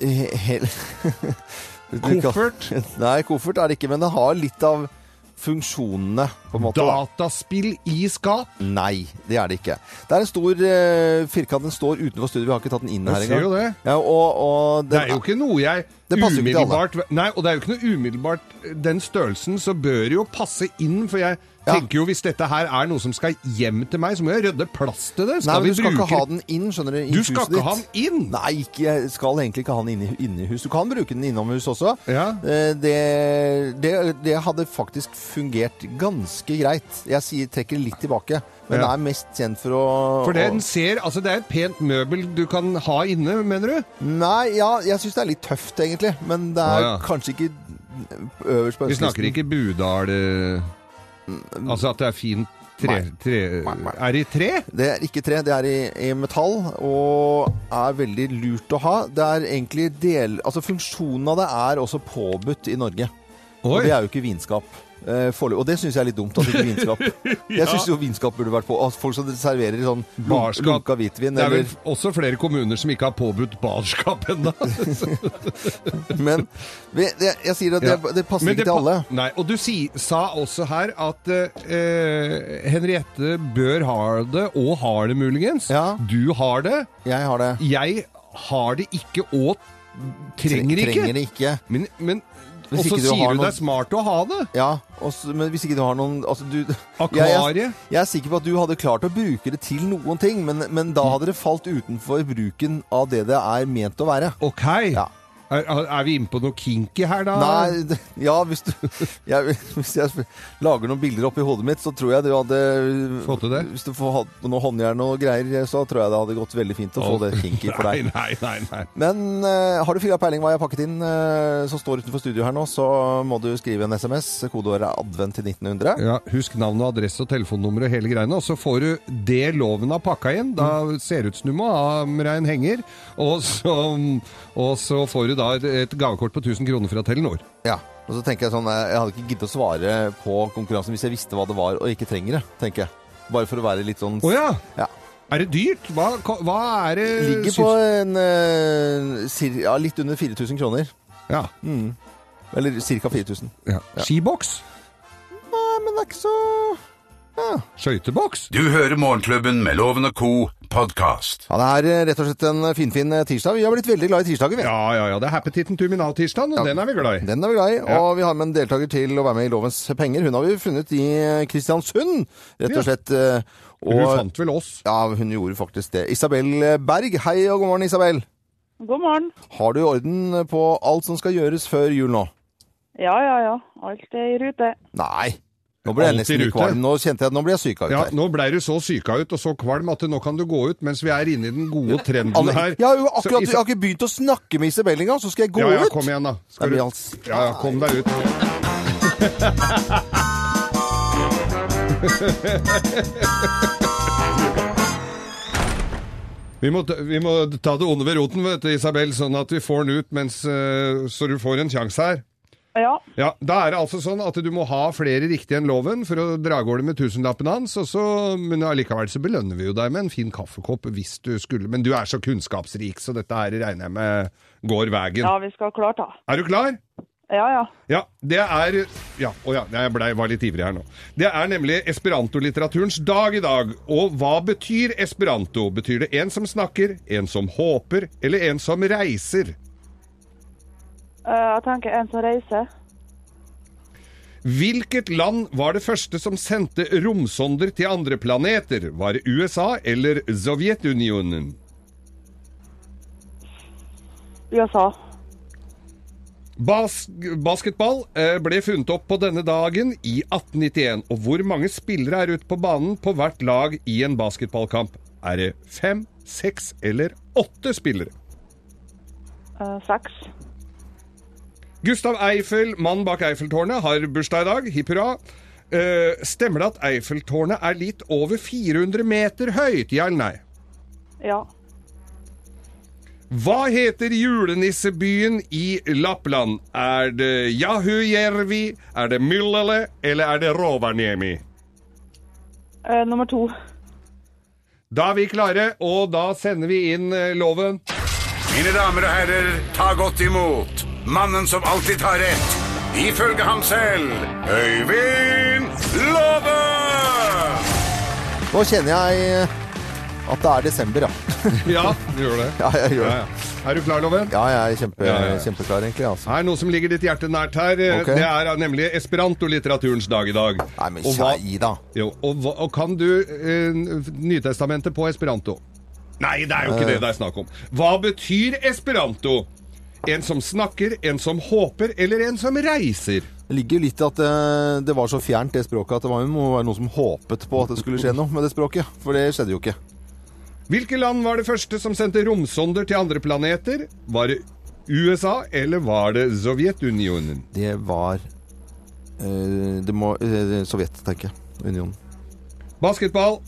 Speaker 2: He- hel- *laughs* Du kan- *laughs*
Speaker 3: Koffert.
Speaker 2: Nei, koffert er det ikke, men det har litt av funksjonene, på en måte. da.
Speaker 3: Dataspill i skap.
Speaker 2: Nei, det er det ikke. Det er en stor eh, firkant. Den står utenfor studioet. Vi har ikke tatt den inn her
Speaker 3: Jeg ser jo
Speaker 2: engang.
Speaker 3: det.
Speaker 2: Ja, og, og
Speaker 3: Det
Speaker 2: den,
Speaker 3: er jo ikke noe jeg
Speaker 2: Det passer jo ikke til alle.
Speaker 3: umiddelbart Nei, og det er jo ikke noe umiddelbart eh, Den størrelsen så bør jo passe inn, for jeg
Speaker 2: Ja.
Speaker 3: tenker jo hvis dette her er noe som skal hjem til meg, så må jeg rydde plass til det.
Speaker 2: Nei, men
Speaker 3: Skal
Speaker 2: du
Speaker 3: vi
Speaker 2: skal
Speaker 3: bruke
Speaker 2: ikke ha den inn, skjønner du. i
Speaker 3: Du skal
Speaker 2: huset
Speaker 3: ikke
Speaker 2: ditt.
Speaker 3: ha den inn?
Speaker 2: Nei, ikke, jeg skal egentlig ikke ha den inne, i- inne i hus. Du kan bruke den innomhus også.
Speaker 3: Ja.
Speaker 2: Eh, Det, det, det hadde faktisk fungert ganske greit. Jeg sier, trekker litt tilbake, men
Speaker 3: Ja.
Speaker 2: den er mest kjent for å
Speaker 3: For
Speaker 2: å-
Speaker 3: den ser Altså, det er et pent møbel du kan ha inne, mener du?
Speaker 2: Nei, ja, jeg syns det er litt tøft, egentlig. Men det
Speaker 3: Å,
Speaker 2: er
Speaker 3: ja.
Speaker 2: kanskje ikke øverst på
Speaker 3: Vi snakker ikke Budal eh, Altså at det er fint tre,
Speaker 2: Mm, Nei.
Speaker 3: tre Er det i tre?
Speaker 2: Det er ikke tre, det er i, i metall og er veldig lurt å ha. Det er egentlig del... Altså, funksjonen av det er også påbudt i Norge. Og
Speaker 3: Oi!
Speaker 2: det er jo ikke vinskap. eh, forelø- og det syns jeg er litt dumt. at det ikke er
Speaker 3: *laughs*
Speaker 2: vinskap. Jeg syns jo vinskap burde vært på. At folk som serverer sånn lunk-
Speaker 3: Barskap.
Speaker 2: lunka hvitvin,
Speaker 3: Det er
Speaker 2: eller,
Speaker 3: vel også flere kommuner som ikke har påbudt barskap ennå.
Speaker 2: *laughs* men vi, det, jeg sier at det,
Speaker 3: Ja.
Speaker 2: det passer
Speaker 3: Men
Speaker 2: ikke til
Speaker 3: pa-
Speaker 2: alle.
Speaker 3: Nei, og du si, sa også her at eh, Henriette bør ha det, og har det muligens.
Speaker 2: Ja.
Speaker 3: Du har det.
Speaker 2: Jeg har det.
Speaker 3: Jeg har det ikke, og trenger ikke.
Speaker 2: Trenger det ikke.
Speaker 3: Men, men
Speaker 2: Hvis
Speaker 3: og så
Speaker 2: ikke du
Speaker 3: sier
Speaker 2: har
Speaker 3: du det
Speaker 2: noen-
Speaker 3: er smart å ha det.
Speaker 2: Ja, og så- men hvis ikke du har noen altså du, *laughs* Jeg, jeg,
Speaker 3: Akvariet.
Speaker 2: jeg er sikker på at du hadde klart å bruke det til noen ting, men, men da hadde det falt utenfor bruken av det det er ment å være.
Speaker 3: Ok.
Speaker 2: Ja.
Speaker 3: Er, er vi inne på noe kinky her, da?
Speaker 2: Nei, det- ja, hvis du *laughs* jeg, Hvis jeg lager noen bilder oppi hodet mitt, så tror jeg du hadde
Speaker 3: Fått til det?
Speaker 2: Hvis du får hatt noe håndjern og greier, så tror jeg det hadde gått veldig fint å få det
Speaker 3: *laughs*
Speaker 2: kinky for
Speaker 3: Nei,
Speaker 2: deg.
Speaker 3: nei, nei. nei.
Speaker 2: Men eh, har du filla peiling hva jeg har pakket inn eh, som står utenfor studio her nå, så må du skrive en SMS. Kodeåret er advent til 1900.
Speaker 3: Ja, husk navn og adresse og telefonnummer og hele greiene, og så får du det loven har pakka inn. Da ser det ut som du må ha med deg en henger, og så, og så får du da et- et gavekort på 1000 kroner fra Telenor.
Speaker 2: Ja, og så tenker jeg sånn, eh, jeg hadde ikke giddet å svare på konkurransen hvis jeg visste hva det var og ikke trenger det, tenker jeg. Bare for å være litt sånn...
Speaker 3: Å ja!
Speaker 2: Ja.
Speaker 3: Er det dyrt? Hva, hva er det
Speaker 2: Ligger på en, eh, cir- ja, litt under 4000 kroner.
Speaker 3: Ja.
Speaker 2: Eller cirka 4000.
Speaker 3: ja. Skiboks?
Speaker 2: Nei, men det er ikke så...
Speaker 3: Skøyteboks?
Speaker 1: Du hører Morgenklubben med Loven og Co. podkast.
Speaker 2: Ja, det er eh, rett og slett en finfin eh, tirsdag. Vi har blitt veldig glad i tirsdager, vi.
Speaker 3: Ja, ja, ja. Det er Happy Titten Tuminal-tirsdagen, og den er vi glad i.
Speaker 2: Den er vi glad i,
Speaker 3: Ja.
Speaker 2: og vi har med en deltaker til å være med i Lovens penger. Hun har vi funnet i eh, Kristiansund, rett
Speaker 3: Ja.
Speaker 2: og slett. eh, Og,
Speaker 3: Hun fant vel oss.
Speaker 2: Ja, hun gjorde faktisk det. Isabel Berg, hei og god morgen, Isabel.
Speaker 10: God morgen.
Speaker 2: Har du orden på alt som skal gjøres før jul nå?
Speaker 10: Ja, ja, ja. Alt er i rute.
Speaker 2: Nei. Nå ble jeg
Speaker 3: Alt i
Speaker 2: nesten litt
Speaker 3: rute.
Speaker 2: kvalm. Nå kjente jeg at nå ble jeg syk av ut
Speaker 3: Ja,
Speaker 2: her.
Speaker 3: nå blei du så syka ut og så kvalm at nå kan du gå ut mens vi er inne i den gode trenden
Speaker 2: Alle,
Speaker 3: her.
Speaker 2: jeg har jo akkurat
Speaker 3: Så-
Speaker 2: jeg har ikke begynt å snakke med Isabel engang, så skal jeg gå
Speaker 3: ja, ja,
Speaker 2: ut?
Speaker 3: kom igjen, da.
Speaker 2: Nei,
Speaker 3: Skal du...
Speaker 2: men altså-
Speaker 3: Ja, ja, kom deg ut. *laughs* Vi må, ta- vi må ta det onde ved roten, vet du, Isabel, sånn at vi får den ut, mens, eh, så du får en sjanse her.
Speaker 10: Ja,
Speaker 3: Ja, Da er det altså sånn at du må ha flere riktige enn loven for å dra av gårde med tusenlappen hans, og så, men allikevel så belønner vi jo deg med en fin kaffekopp hvis du skulle Men du er så kunnskapsrik, så dette her regner jeg med går veien.
Speaker 10: ja, vi skal klart da.
Speaker 3: Er du klar?
Speaker 10: Ja, ja.
Speaker 3: Ja, det er Ja, å ja, jeg ble, var litt ivrig her nå. Det er nemlig esperantolitteraturens dag i dag. Og hva betyr esperanto? Betyr det en som snakker, en som håper, eller en som reiser?
Speaker 10: Eh, Jeg tenker en som reiser.
Speaker 3: Hvilket land var det første som sendte romsonder til andre planeter? Var det USA eller Sovjetunionen?
Speaker 10: USA.
Speaker 3: Bas basketball eh, ble funnet opp på denne dagen i 1891. Og hvor mange spillere er ute på banen på hvert lag i en basketballkamp? Er det fem, seks eller åtte spillere?
Speaker 10: Eh, seks.
Speaker 3: Gustav Eiffel, mannen bak Eiffeltårnet, har bursdag i dag. Hipp hurra. Eh, stemmer det at Eiffeltårnet er litt over 400 meter høyt? Ja eller nei?
Speaker 10: Ja.
Speaker 3: Hva heter julenissebyen i Lappland? Er det Jahujärvi, er det Myllele eller er det Rovaniemi?
Speaker 10: Eh, nummer to.
Speaker 3: Da er vi klare, og da sender vi inn eh, loven.
Speaker 1: Mine damer og herrer, ta godt imot mannen som alltid tar rett, ifølge ham selv, Øyvind Låve!
Speaker 2: Nå kjenner jeg eh, at det er desember, ja.
Speaker 3: Ja, du gjør det.
Speaker 2: Ja, jeg gjør det.
Speaker 3: Er du klar, Loven?
Speaker 2: Ja, jeg er kjempe,
Speaker 3: Ja, ja, ja.
Speaker 2: kjempeklar, egentlig. Altså.
Speaker 3: Her er noe som ligger ditt hjerte nært her. eh,
Speaker 2: Ok.
Speaker 3: Det er eh, nemlig esperanto-litteraturens dag i dag. Nei,
Speaker 2: Men kjæ i, da.
Speaker 3: Jo, og, hva- og kan du eh, Nytestamentet på esperanto? Nei, det er jo ikke
Speaker 2: Eh.
Speaker 3: det det er snakk om. Hva betyr esperanto? En som snakker, en som håper, eller en som reiser?
Speaker 2: Det ligger jo litt i at eh, det var så fjernt, det språket, at det var jo må være noen som håpet på at det skulle skje noe med det språket. For det skjedde jo ikke.
Speaker 3: Hvilke land var det første som sendte romsonder til andre planeter? Var det USA, eller var det Sovjetunionen?
Speaker 2: Det var eh, Det må eh, Sovjet, tenker jeg. Unionen.
Speaker 3: Basketball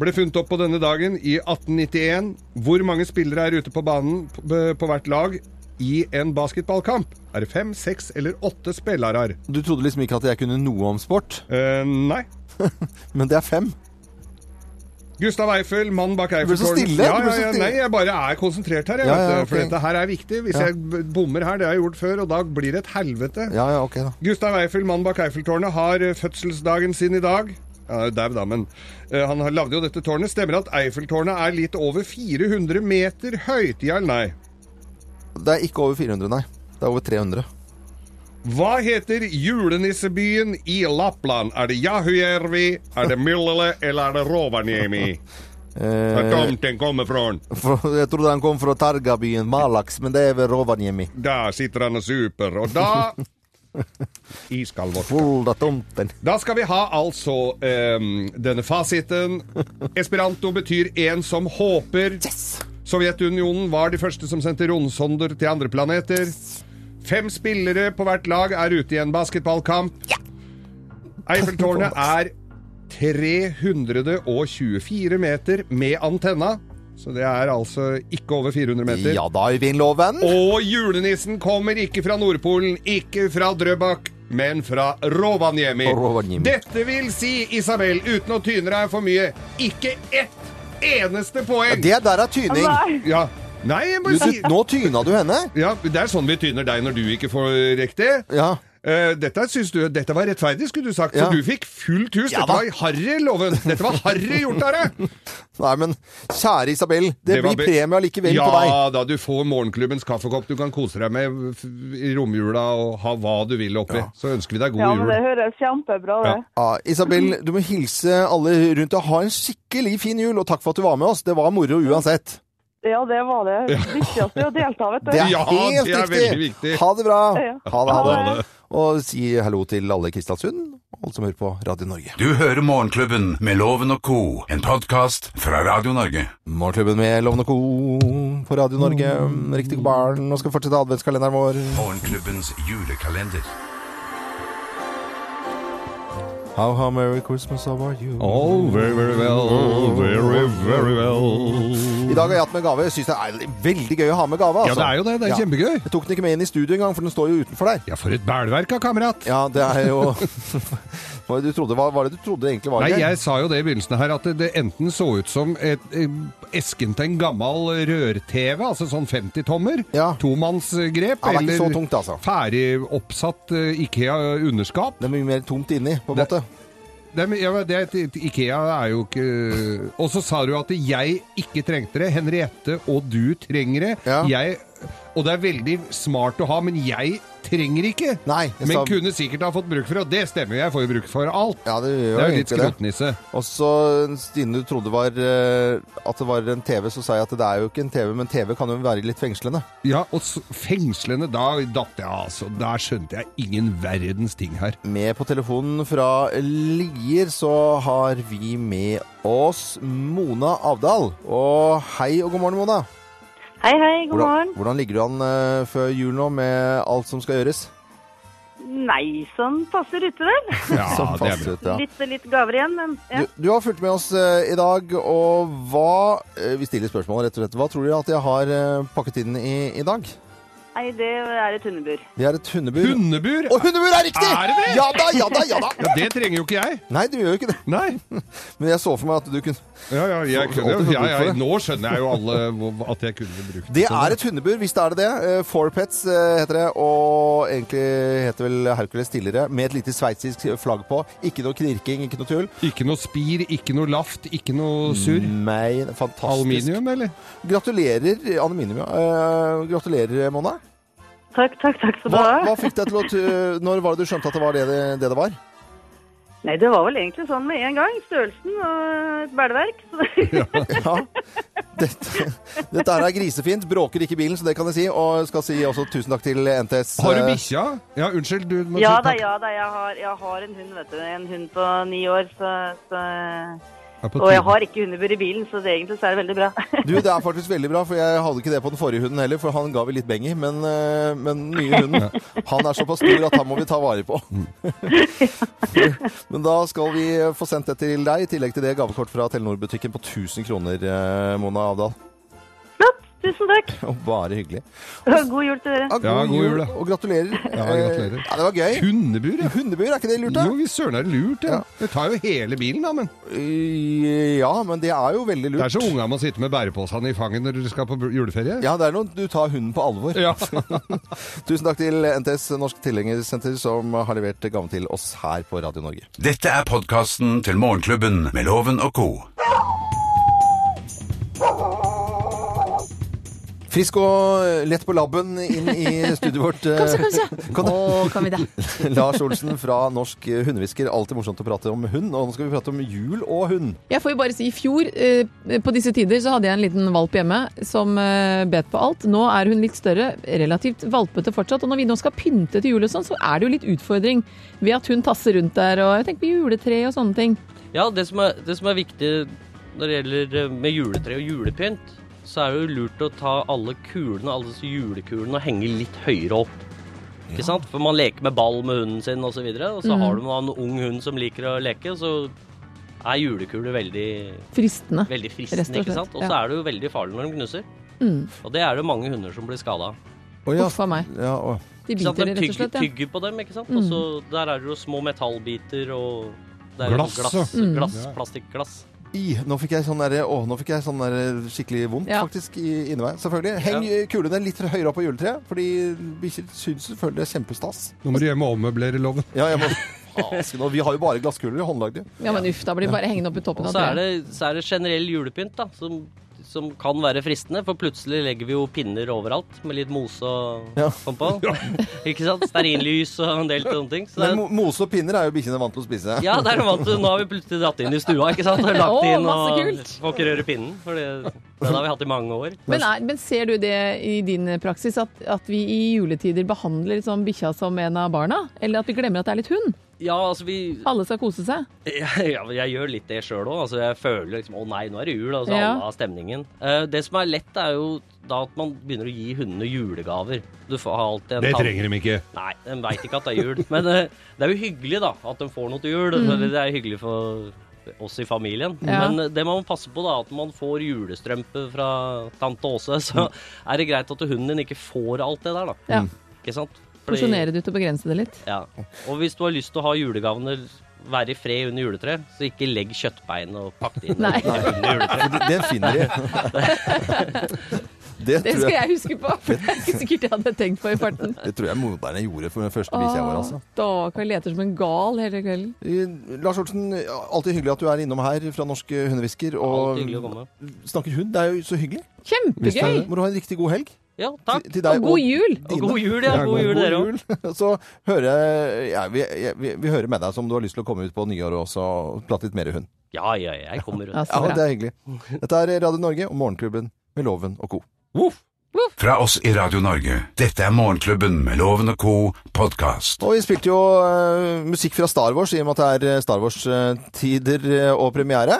Speaker 3: ble funnet opp på denne dagen i 1891. Hvor mange spillere er ute på banen på, på hvert lag i en basketballkamp? Er det fem, seks eller åtte spillere? Eh,
Speaker 2: Du trodde liksom ikke at jeg kunne noe om sport?
Speaker 3: nei.
Speaker 2: Men det er fem.
Speaker 3: Gustav Eiffel, mannen bak
Speaker 2: ble så
Speaker 3: Eiffeltårnet.
Speaker 2: stille,
Speaker 3: Ja,
Speaker 2: du ble
Speaker 3: ja,
Speaker 2: så
Speaker 3: ja,
Speaker 2: stille.
Speaker 3: nei, jeg bare er konsentrert her, jeg,
Speaker 2: Ja,
Speaker 3: vet,
Speaker 2: ja,
Speaker 3: du, for
Speaker 2: ok.
Speaker 3: dette her er viktig. Hvis
Speaker 2: Ja.
Speaker 3: jeg b- bommer her, det har jeg gjort før, og da blir det et helvete.
Speaker 2: Ja, ja, ok, da.
Speaker 3: Gustav Eiffel, mannen bak Eiffeltårnet, har eh, fødselsdagen sin i dag. Han er jo dau, da, men eh, han har lagd jo dette tårnet. Stemmer at Eiffeltårnet er litt over 400 meter høyt? Ja eller nei?
Speaker 2: Det er ikke over 400, nei. Det er over 300.
Speaker 3: Hva heter julenissebyen i Lappland? Er det Jahujärvi, er det Myllele eller er det Rovaniemi? Hvor tomten kommer fra?
Speaker 2: For, jeg trodde han kom fra Targabyen Malax, men det er ved Rovaniemi.
Speaker 3: Der sitter han og super, og da Iskald vodka.
Speaker 2: Full av tomten.
Speaker 3: Da skal vi ha altså ehm, denne fasiten. Esperanto betyr en som håper. Sovjetunionen var de første som sendte romsonder til andre planeter. Fem spillere på hvert lag er ute i en basketballkamp. Eiffeltårnet er 324 meter med antenna. Så det er altså ikke over 400 meter.
Speaker 2: Ja da, Øyvindloven.
Speaker 3: Og julenissen kommer ikke fra Nordpolen, ikke fra Drøbak, men fra Rovaniemi.
Speaker 2: Rovaniemi.
Speaker 3: Dette vil si, Isabel, uten å tyne deg for mye, ikke ett eneste poeng!
Speaker 2: Det der er tyning.
Speaker 10: Nei.
Speaker 3: Ja. Nei, jeg
Speaker 2: Du,
Speaker 3: bare
Speaker 2: sy-
Speaker 3: sier
Speaker 2: nå tyna du henne.
Speaker 3: ja, Det er sånn vi tyner deg når du ikke får riktig.
Speaker 2: Ja.
Speaker 3: Eh, dette, synes du, dette var rettferdig, skulle du sagt,
Speaker 2: Ja.
Speaker 3: for du fikk fullt hus.
Speaker 2: Ja
Speaker 3: Dette
Speaker 2: da.
Speaker 3: var harry, Loven. Dette var harry gjort av deg!
Speaker 2: Nei, men kjære Isabel, *laughs* det,
Speaker 3: var
Speaker 2: blir
Speaker 3: be-
Speaker 2: premie allikevel
Speaker 3: ja,
Speaker 2: på deg.
Speaker 3: da, du får morgenklubbens kaffekopp du kan kose deg med f- i romjula og ha hva du vil oppi. Så ønsker vi deg god
Speaker 10: Ja, men
Speaker 3: jul.
Speaker 10: det høres kjempebra, det.
Speaker 2: Ja, Isabel, du må hilse alle rundt og ha en skikkelig fin jul, og takk for at du var med oss. Det var moro uansett.
Speaker 10: Ja, det var det. Viktigste er å delta, vet du.
Speaker 2: Det er
Speaker 3: Ja,
Speaker 2: helt
Speaker 3: det er veldig
Speaker 2: riktig.
Speaker 3: viktig.
Speaker 2: Ha det bra.
Speaker 10: Ja.
Speaker 2: Ha det, ha
Speaker 10: Ha
Speaker 2: det. Og si hallo til alle i Kristiansund, og alle som hører på Radio Norge.
Speaker 1: Du hører Morgenklubben med Loven og co., en podkast fra Radio Norge.
Speaker 2: Morgenklubben med Lovende Co. på Radio Norge.
Speaker 3: Mm.
Speaker 2: Riktig god barn. Nå skal vi fortsette adventskalenderen vår.
Speaker 1: Morgenklubbens julekalender.
Speaker 2: How, how merry Christmas, how are you?
Speaker 3: Oh, very, very well. Very, very well.
Speaker 2: I dag har jeg hatt med gave. Jeg syns det er veldig gøy å ha med gave.
Speaker 3: Ja,
Speaker 2: Altså.
Speaker 3: det er jo det. Det er
Speaker 2: Ja.
Speaker 3: kjempegøy.
Speaker 2: Jeg tok den ikke med inn i studio engang, for den står jo utenfor der.
Speaker 3: Ja, for et bælverk av kamerat.
Speaker 2: Ja, det er jo *laughs* Hva var det du trodde, hva var det du trodde det egentlig var?
Speaker 3: Nei,
Speaker 2: Geir?
Speaker 3: jeg sa jo det i begynnelsen her, at det, det enten så ut som et, eh, esken til en gammel rør-TV, altså sånn 50-tommer,
Speaker 2: Ja. Ja, det
Speaker 3: tomannsgrep,
Speaker 2: er ikke
Speaker 3: eller
Speaker 2: så tungt, altså.
Speaker 3: ferdig oppsatt eh, IKEA-underskap.
Speaker 2: Det er mye mer tomt inni, på en
Speaker 3: Det-
Speaker 2: måte.
Speaker 3: Det, er- ja, det, er et- IKEA er jo ikke eh, Og så sa du at jeg ikke trengte det, Henriette og du trenger det.
Speaker 2: Ja.
Speaker 3: Jeg Og det er veldig smart å ha, men jeg trenger ikke.
Speaker 2: jeg
Speaker 3: men
Speaker 2: sa-
Speaker 3: kunne sikkert ha fått bruk for, og det stemmer jo, jeg får jo bruk for alt.
Speaker 2: Ja, det gjør
Speaker 3: Det
Speaker 2: jo
Speaker 3: er jo litt
Speaker 2: egentlig det.
Speaker 3: skrotnisse.
Speaker 2: Og så Stine, du trodde var, eh, at det var en TV, så sa jeg at det er jo ikke en TV, men TV kan jo være litt fengslende.
Speaker 3: Ja, og s- fengslende, da datt jeg altså. Da skjønte jeg ingen verdens ting *laughs* her.
Speaker 2: Med på telefonen fra Lier så har vi med oss Mona Avdal. Og hei og god morgen, Mona.
Speaker 11: Hei, hei, god
Speaker 2: Hvordan,
Speaker 11: morgen.
Speaker 2: hvordan ligger du an eh, før jul nå med alt som skal gjøres?
Speaker 11: Nei, sånn passer ute, vel?
Speaker 2: Som passer ut, ja.
Speaker 11: litt, litt gaver igjen, men ja.
Speaker 2: Du, du har fulgt med oss eh, i dag, og hva eh, Vi stiller spørsmål, rett og slett. Hva tror dere at jeg har eh, pakket inn i, i dag?
Speaker 11: Nei, det er et hundebur.
Speaker 2: Vi har et hundebur.
Speaker 3: Hundebur?
Speaker 2: Og hundebur er riktig!
Speaker 11: Er det det?
Speaker 2: Ja da, ja da, ja da.
Speaker 3: Ja, Det trenger jo ikke jeg.
Speaker 2: Nei, du gjør jo ikke det. Men jeg så for meg at du kunne
Speaker 3: Ja, ja, jeg
Speaker 2: Så-
Speaker 3: kunne,
Speaker 2: alltid fått
Speaker 3: ja,
Speaker 2: bruk for
Speaker 3: ja,
Speaker 2: det.
Speaker 3: nå skjønner jeg jo alle hvor- at jeg kunne brukt
Speaker 11: Sånn,
Speaker 2: Det er et hundebur, hvis det er det det. Eh, Four Pets eh, heter det, og egentlig heter vel Hercules tidligere, med et lite sveitsisk flagg på. Ikke noe knirking, ikke noe tull.
Speaker 3: Ikke noe spir, ikke noe laft, ikke noe surr.
Speaker 2: Nei, fantastisk.
Speaker 3: Aluminium, eller?
Speaker 2: Gratulerer, aluminium, ja. Eh, gratulerer, Mona.
Speaker 11: Takk, takk, takk skal du
Speaker 2: Hva,
Speaker 11: ha.
Speaker 2: hva fikk deg til å
Speaker 11: *laughs*
Speaker 2: tu- Når var det du skjønte at det var det det, det, det var?
Speaker 11: Nei, det var vel egentlig sånn med en gang. Størrelsen og et bælverk. Så det,
Speaker 2: Ja. Dette, dette her er grisefint. Bråker ikke i bilen, så det kan jeg si. Og skal si også tusen takk til NTS.
Speaker 3: Har du
Speaker 2: eh,
Speaker 3: bikkja? Ja, unnskyld. Du må
Speaker 11: ja da,
Speaker 3: si takk.
Speaker 11: ja da, jeg har, jeg har en hund, vet du. En hund på ni år, så, så
Speaker 3: Ja, på
Speaker 11: Og jeg
Speaker 3: tide.
Speaker 11: har ikke hundebur i bilen, så det, egentlig så er det veldig bra.
Speaker 2: Du, det er faktisk veldig bra, for jeg hadde ikke det på den forrige hunden heller, for han ga vi litt beng i, men, eh, men den nye hunden, han er såpass stor at han må vi ta vare på.
Speaker 3: Mm.
Speaker 2: *laughs* Men da skal vi få sendt det til deg, i tillegg til det gavekort fra Telenor-butikken på 1000 kroner, eh, Mona Avdal.
Speaker 11: Tusen takk.
Speaker 2: *laughs* Og bare hyggelig.
Speaker 11: Og god jul til dere.
Speaker 2: Ja, god jul, og gratulerer.
Speaker 3: Ja, gratulerer.
Speaker 2: Eh, Ja, det var gøy.
Speaker 3: Hundebur, ja.
Speaker 2: Hundebur, er ikke det lurt, da?
Speaker 3: Jo, vi søren er det lurt, ja. Det tar jo hele bilen, da, men.
Speaker 2: Ja, men det er jo veldig lurt.
Speaker 3: Det er så unga må sitte med bæreposene i fanget når dere skal på bu- juleferie.
Speaker 2: Ja, det er noe du tar hunden på alvor.
Speaker 3: Ja.
Speaker 2: *laughs* Tusen takk til NTS Norsk Tilhengersenter, som har levert gaven til oss her på Radio Norge.
Speaker 1: Dette er podkasten til Morgenklubben med Loven og co.
Speaker 2: Frisk og eh, lett på labben inn i studioet vårt. eh,
Speaker 4: Kanskje, kanskje.
Speaker 2: Kan-
Speaker 4: Å, kan vi det?
Speaker 2: *laughs* Lars Olsen fra Norsk Hundehvisker. Alltid morsomt å prate om hund. Og nå skal vi prate om jul og hund.
Speaker 4: Jeg får jo bare si, i fjor eh, på disse tider så hadde jeg en liten valp hjemme som eh, bet på alt. Nå er hun litt større, relativt valpete fortsatt. Og når vi nå skal pynte til jul og sånn, så er det jo litt utfordring ved at hun tasser rundt der og jeg tenker på juletre og sånne ting.
Speaker 9: Ja, det som, er, det som er viktig når det gjelder eh, med juletre og julepynt, så er det jo lurt å ta alle kulene, alle disse julekulene, og henge litt høyere opp. Ikke sant? For man leker med ball med hunden sin osv., og så, videre, og så
Speaker 4: Mhm.
Speaker 9: har du en ung hund som liker å leke, og så er julekuler veldig
Speaker 4: Fristende,
Speaker 9: Veldig
Speaker 4: rett og
Speaker 9: fristende, ikke
Speaker 4: slett,
Speaker 9: sant? Og så
Speaker 4: ja.
Speaker 9: er det jo veldig farlig når de knuser.
Speaker 4: Mm.
Speaker 9: Og det er det mange hunder som blir skada av.
Speaker 4: Uff a meg.
Speaker 2: Ja, å.
Speaker 4: De
Speaker 9: Ikke sant?
Speaker 4: biter
Speaker 9: De
Speaker 4: rett og slett, ja. Mm.
Speaker 9: tygger, tygger på dem, ikke sant? Og så der er det jo små metallbiter og det er jo
Speaker 2: Glass,
Speaker 9: glass,
Speaker 2: ja. Mm.
Speaker 9: glass,
Speaker 2: Ja.
Speaker 9: plastikkglass.
Speaker 2: I, nå fikk jeg sånn derre Å, nå fikk jeg sånn derre skikkelig vondt, faktisk, i inni meg. Selvfølgelig. Heng kulene litt høyere opp på juletreet, fordi bikkjer syns selvfølgelig det er kjempestas.
Speaker 3: Nå må du hjem og ommøblere loven.
Speaker 2: Ja, jeg må... Asken, og vi har jo bare glasskuler i håndlagde.
Speaker 4: Ja, men uff, da blir det bare hengende opp i toppen
Speaker 9: Og
Speaker 4: av
Speaker 9: så er
Speaker 4: treet.
Speaker 9: det, så er det generell julepynt da, som, som kan være fristende, for plutselig legger vi jo pinner overalt med litt mose og
Speaker 2: *laughs*
Speaker 9: sånn på. Ikke sant? Stearinlys og en del sånne ting. Så
Speaker 2: Men
Speaker 9: det er,
Speaker 2: mo- mose og pinner er jo bikkjene vant til å spise.
Speaker 9: ja, det er noe vant til. Nå har vi plutselig dratt inn i stua, ikke sant? Og
Speaker 4: *laughs*
Speaker 9: lagt
Speaker 4: Å,
Speaker 9: inn
Speaker 4: masse
Speaker 9: og
Speaker 4: kult.
Speaker 9: får ikke røre pinnen, for det, den har vi hatt i mange år.
Speaker 4: Men, er, men ser du det i din praksis, at, at vi i juletider behandler liksom bikkja som en av barna? Eller at vi glemmer at det er litt hund?
Speaker 9: Ja, altså vi *laughs*
Speaker 4: Alle skal kose seg.
Speaker 9: jeg, jeg, jeg gjør litt det sjøl òg. Altså, jeg føler liksom Å nei, nå er det jul. Altså,
Speaker 4: Ja.
Speaker 9: Alle har stemningen. Eh, det som er lett, er jo da at man begynner å gi hundene julegaver. Du får ha alltid en
Speaker 3: Det
Speaker 9: tann-
Speaker 3: trenger de ikke.
Speaker 9: Nei, de veit ikke at det er jul. Men eh, det er jo hyggelig, da. At de får noe til jul.
Speaker 4: Mm.
Speaker 9: Det er hyggelig for oss i familien.
Speaker 4: Ja.
Speaker 9: Men eh, det man må passe på, da, at man får julestrømpe fra tante Åse, så
Speaker 3: Mm.
Speaker 9: er det greit at hunden din ikke får alt det der, da.
Speaker 4: Ja.
Speaker 9: Ikke sant? Fordi-
Speaker 4: Porsjonere det ut og begrense det litt.
Speaker 9: ja. Og hvis du har lyst til å ha julegavene være i fred under juletreet, så ikke legg kjøttbein og pakk det inn
Speaker 4: Nei.
Speaker 9: under juletreet.
Speaker 2: Det- det finner de. Det,
Speaker 4: Det
Speaker 2: tror
Speaker 4: skal
Speaker 2: jeg,
Speaker 4: jeg huske på, for det er ikke sikkert jeg hadde tenkt på i farten.
Speaker 2: det tror jeg moderne gjorde for den første bikkja vår. Altså.
Speaker 4: Stakkar, leter som en gal hele kvelden.
Speaker 2: Eh, Lars Olsen, alltid hyggelig at du er innom her fra Norsk Hundehvisker. Og
Speaker 9: Alltid hyggelig å komme.
Speaker 2: snakker hund. Det er jo så hyggelig.
Speaker 4: Kjempegøy!
Speaker 2: Må du ha en riktig god helg?
Speaker 12: Ja, takk.
Speaker 2: Til deg,
Speaker 12: Og god jul. Og god jul, ja. God jul, dere
Speaker 2: òg. *laughs* Så hører jeg ja, vi, jeg- vi, vi hører med deg som du har lyst til å komme ut på nyåret også og prate litt mer hund.
Speaker 12: Ja, ja, ja, jeg kommer
Speaker 2: Ja,
Speaker 12: rundt.
Speaker 2: det er hyggelig. Dette er Radio Norge og Morgenklubben med Loven og co.
Speaker 1: Fra oss i Radio Norge, dette er Morgenklubben med Loven og Co. podkast.
Speaker 2: Og vi spilte jo eh, musikk fra Star Wars, i og med at det er eh, Star Wars-tider eh, og premiere.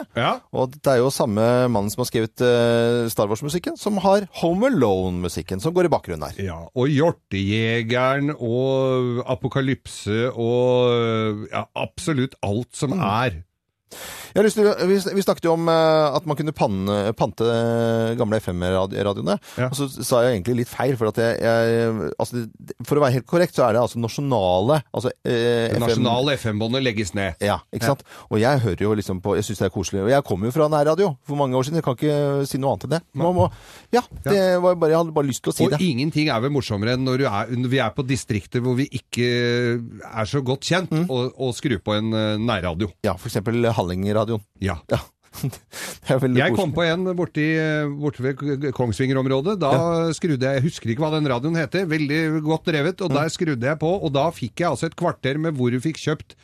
Speaker 2: Og det er jo samme mannen som har skrevet eh, Star Wars-musikken, som har Home Alone-musikken, som går i bakgrunnen her.
Speaker 3: Ja, og Hjortejegeren og Apokalypse og ja, absolutt alt som
Speaker 2: Mm.
Speaker 3: er.
Speaker 2: Jeg har lyst til, å- vi, vi snakket jo om eh, at man kunne panne, pante eh, gamle FM-radioene. Og så sa jeg egentlig litt feil, for at jeg, jeg altså, det- For å være helt korrekt, så er det altså nasjonale altså, eh,
Speaker 3: Det
Speaker 2: FM
Speaker 3: nasjonale FM-båndet legges ned.
Speaker 2: Ja, ikke sant? Og jeg hører jo liksom på Jeg syns det er koselig. Og jeg kom jo fra nærradio for mange år siden. Jeg kan ikke si noe annet enn det. Man må, ja, det var bare, jeg hadde bare lyst til å si
Speaker 3: og
Speaker 2: det.
Speaker 3: ingenting er vel morsommere enn når, du er, når vi er på distrikter hvor vi ikke er så godt kjent,
Speaker 2: Mm.
Speaker 3: og, og skru på en eh, nærradio.
Speaker 2: Ja, for eksempel Hallingradioen.
Speaker 3: Ja.
Speaker 2: *laughs* Det er veldig
Speaker 3: Jeg
Speaker 2: koselig.
Speaker 3: kom på en borti, eh, borte ved K- Kongsvinger-området. Da skrudde jeg Jeg husker ikke hva den radioen heter, veldig godt drevet. Og der skrudde jeg på, og da fikk jeg altså et kvarter med hvor du fikk kjøpt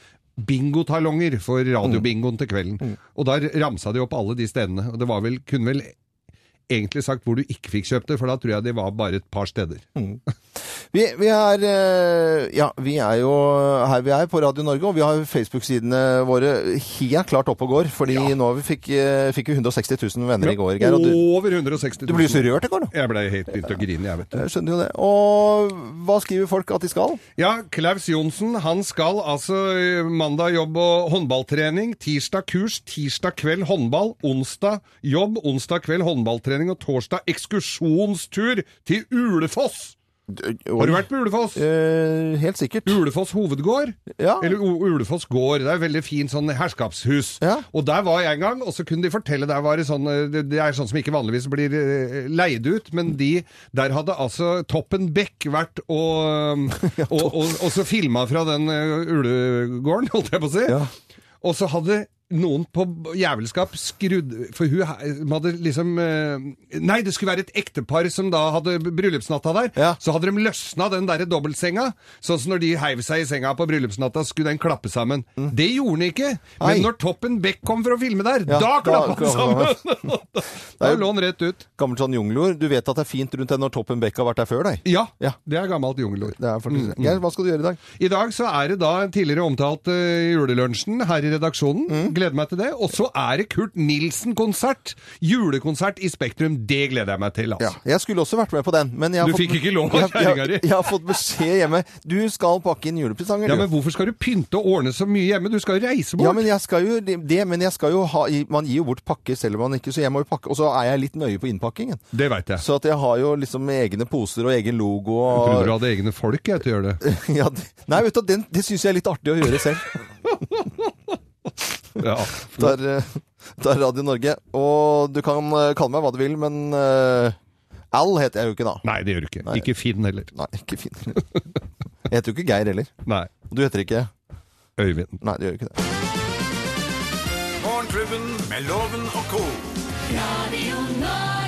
Speaker 3: bingotalonger for
Speaker 2: Mm.
Speaker 3: radiobingoen til kvelden. Og da ramsa de opp alle de stedene. Og det var vel, kunne vel egentlig sagt hvor du ikke fikk kjøpt det, for da tror jeg de var bare et par steder.
Speaker 2: Vi, vi er eh, Ja, vi er jo her vi er, på Radio Norge, og vi har Facebook-sidene våre helt klart oppe og går. Fordi nå vi fikk, eh, fikk vi 160 000 venner i går, Geir. Og du,
Speaker 3: Over 160 000.
Speaker 2: du blir jo så rørt i går, da.
Speaker 3: Jeg ble helt begynt å grine, jeg, vet du.
Speaker 2: Jeg skjønner jo det. Og hva skriver folk at de skal?
Speaker 3: Ja, Klaus Johnsen han skal altså eh, mandag jobb og håndballtrening, tirsdag kurs, tirsdag kveld håndball, onsdag jobb, onsdag kveld håndballtrening og torsdag ekskursjonstur til Ulefoss! Har du vært på Ulefoss?
Speaker 2: Eh. helt sikkert.
Speaker 3: Ulefoss hovedgård? Eller O- Ulefoss gård. Det er et veldig fint sånn herskapshus. Og der var jeg en gang, og så kunne de fortelle der var det sånn eh, Det det er sånn som ikke vanligvis blir eh, leid ut, men de Der hadde altså Toppen Beck vært og, eh, og, og, og så filma fra den eh, ulegården, holdt jeg på å si. Og så hadde noen på jævelskap skrudd For hun he- hun hadde liksom eh, Nei, det skulle være et ektepar som da hadde bryllupsnatta der. Så hadde de løsna den derre dobbeltsenga. Sånn som når de heiv seg i senga på bryllupsnatta, skulle den klappe sammen. Det gjorde den ikke.
Speaker 2: Nei.
Speaker 3: Men når Toppen Beck kom for å filme der,
Speaker 2: Ja,
Speaker 3: da
Speaker 2: da
Speaker 3: klappa den
Speaker 2: klappa
Speaker 3: sammen! *laughs* Da lå den rett ut.
Speaker 2: Gammelt sånn jungelord. Du vet at det er fint rundt deg når Toppen Beck har vært der før deg. Mm,
Speaker 3: Ja, det er gammelt jungelord.
Speaker 2: faktisk det. Geir, hva skal du gjøre i dag?
Speaker 3: I dag så er det da en tidligere omtalt eh, julelunsjen her i redaksjonen.
Speaker 2: Mm.
Speaker 3: Gleder meg til det. Og så er det Kurt Nilsen-konsert. Julekonsert i Spektrum. Det gleder jeg meg til, altså.
Speaker 2: Jeg skulle også vært med på den, men jeg har
Speaker 3: Du
Speaker 2: fått,
Speaker 3: fikk ikke lov av
Speaker 2: Jeg- jeg-
Speaker 3: kjerringa di.
Speaker 2: Jeg har fått beskjed hjemme. Du skal pakke inn julepresanger,
Speaker 3: Ja,
Speaker 2: du.
Speaker 3: men hvorfor skal du pynte og ordne så mye hjemme? Du skal jo reise bort.
Speaker 2: Ja, men jeg skal jo det, men jeg skal jo ha Man gir jo bort pakker selv om man ikke Så jeg må jo pakke Og så er jeg litt nøye på innpakkingen.
Speaker 3: Det veit jeg.
Speaker 2: Så at jeg har jo liksom egne poser og egen logo
Speaker 3: Jeg trodde du
Speaker 2: og
Speaker 3: hadde egne folk jeg, til å gjøre
Speaker 2: *laughs*
Speaker 3: det.
Speaker 2: ja, det- Nei, vet du, den, det syns jeg er litt artig å gjøre selv.
Speaker 3: Ja.
Speaker 2: Det er, eh, *laughs* det er Radio Norge. Og du kan eh, kalle meg hva du vil, men eh, Al heter jeg jo ikke da.
Speaker 3: Nei, det gjør du ikke. Ikke Finn heller.
Speaker 2: Nei, ikke Finn heller. Jeg heter jo ikke Geir heller.
Speaker 3: Nei.
Speaker 2: Og du heter ikke
Speaker 3: Øyvind.
Speaker 2: Nei, du gjør ikke det.
Speaker 1: Morgenklubben med Loven og Co.
Speaker 13: Radio Norge.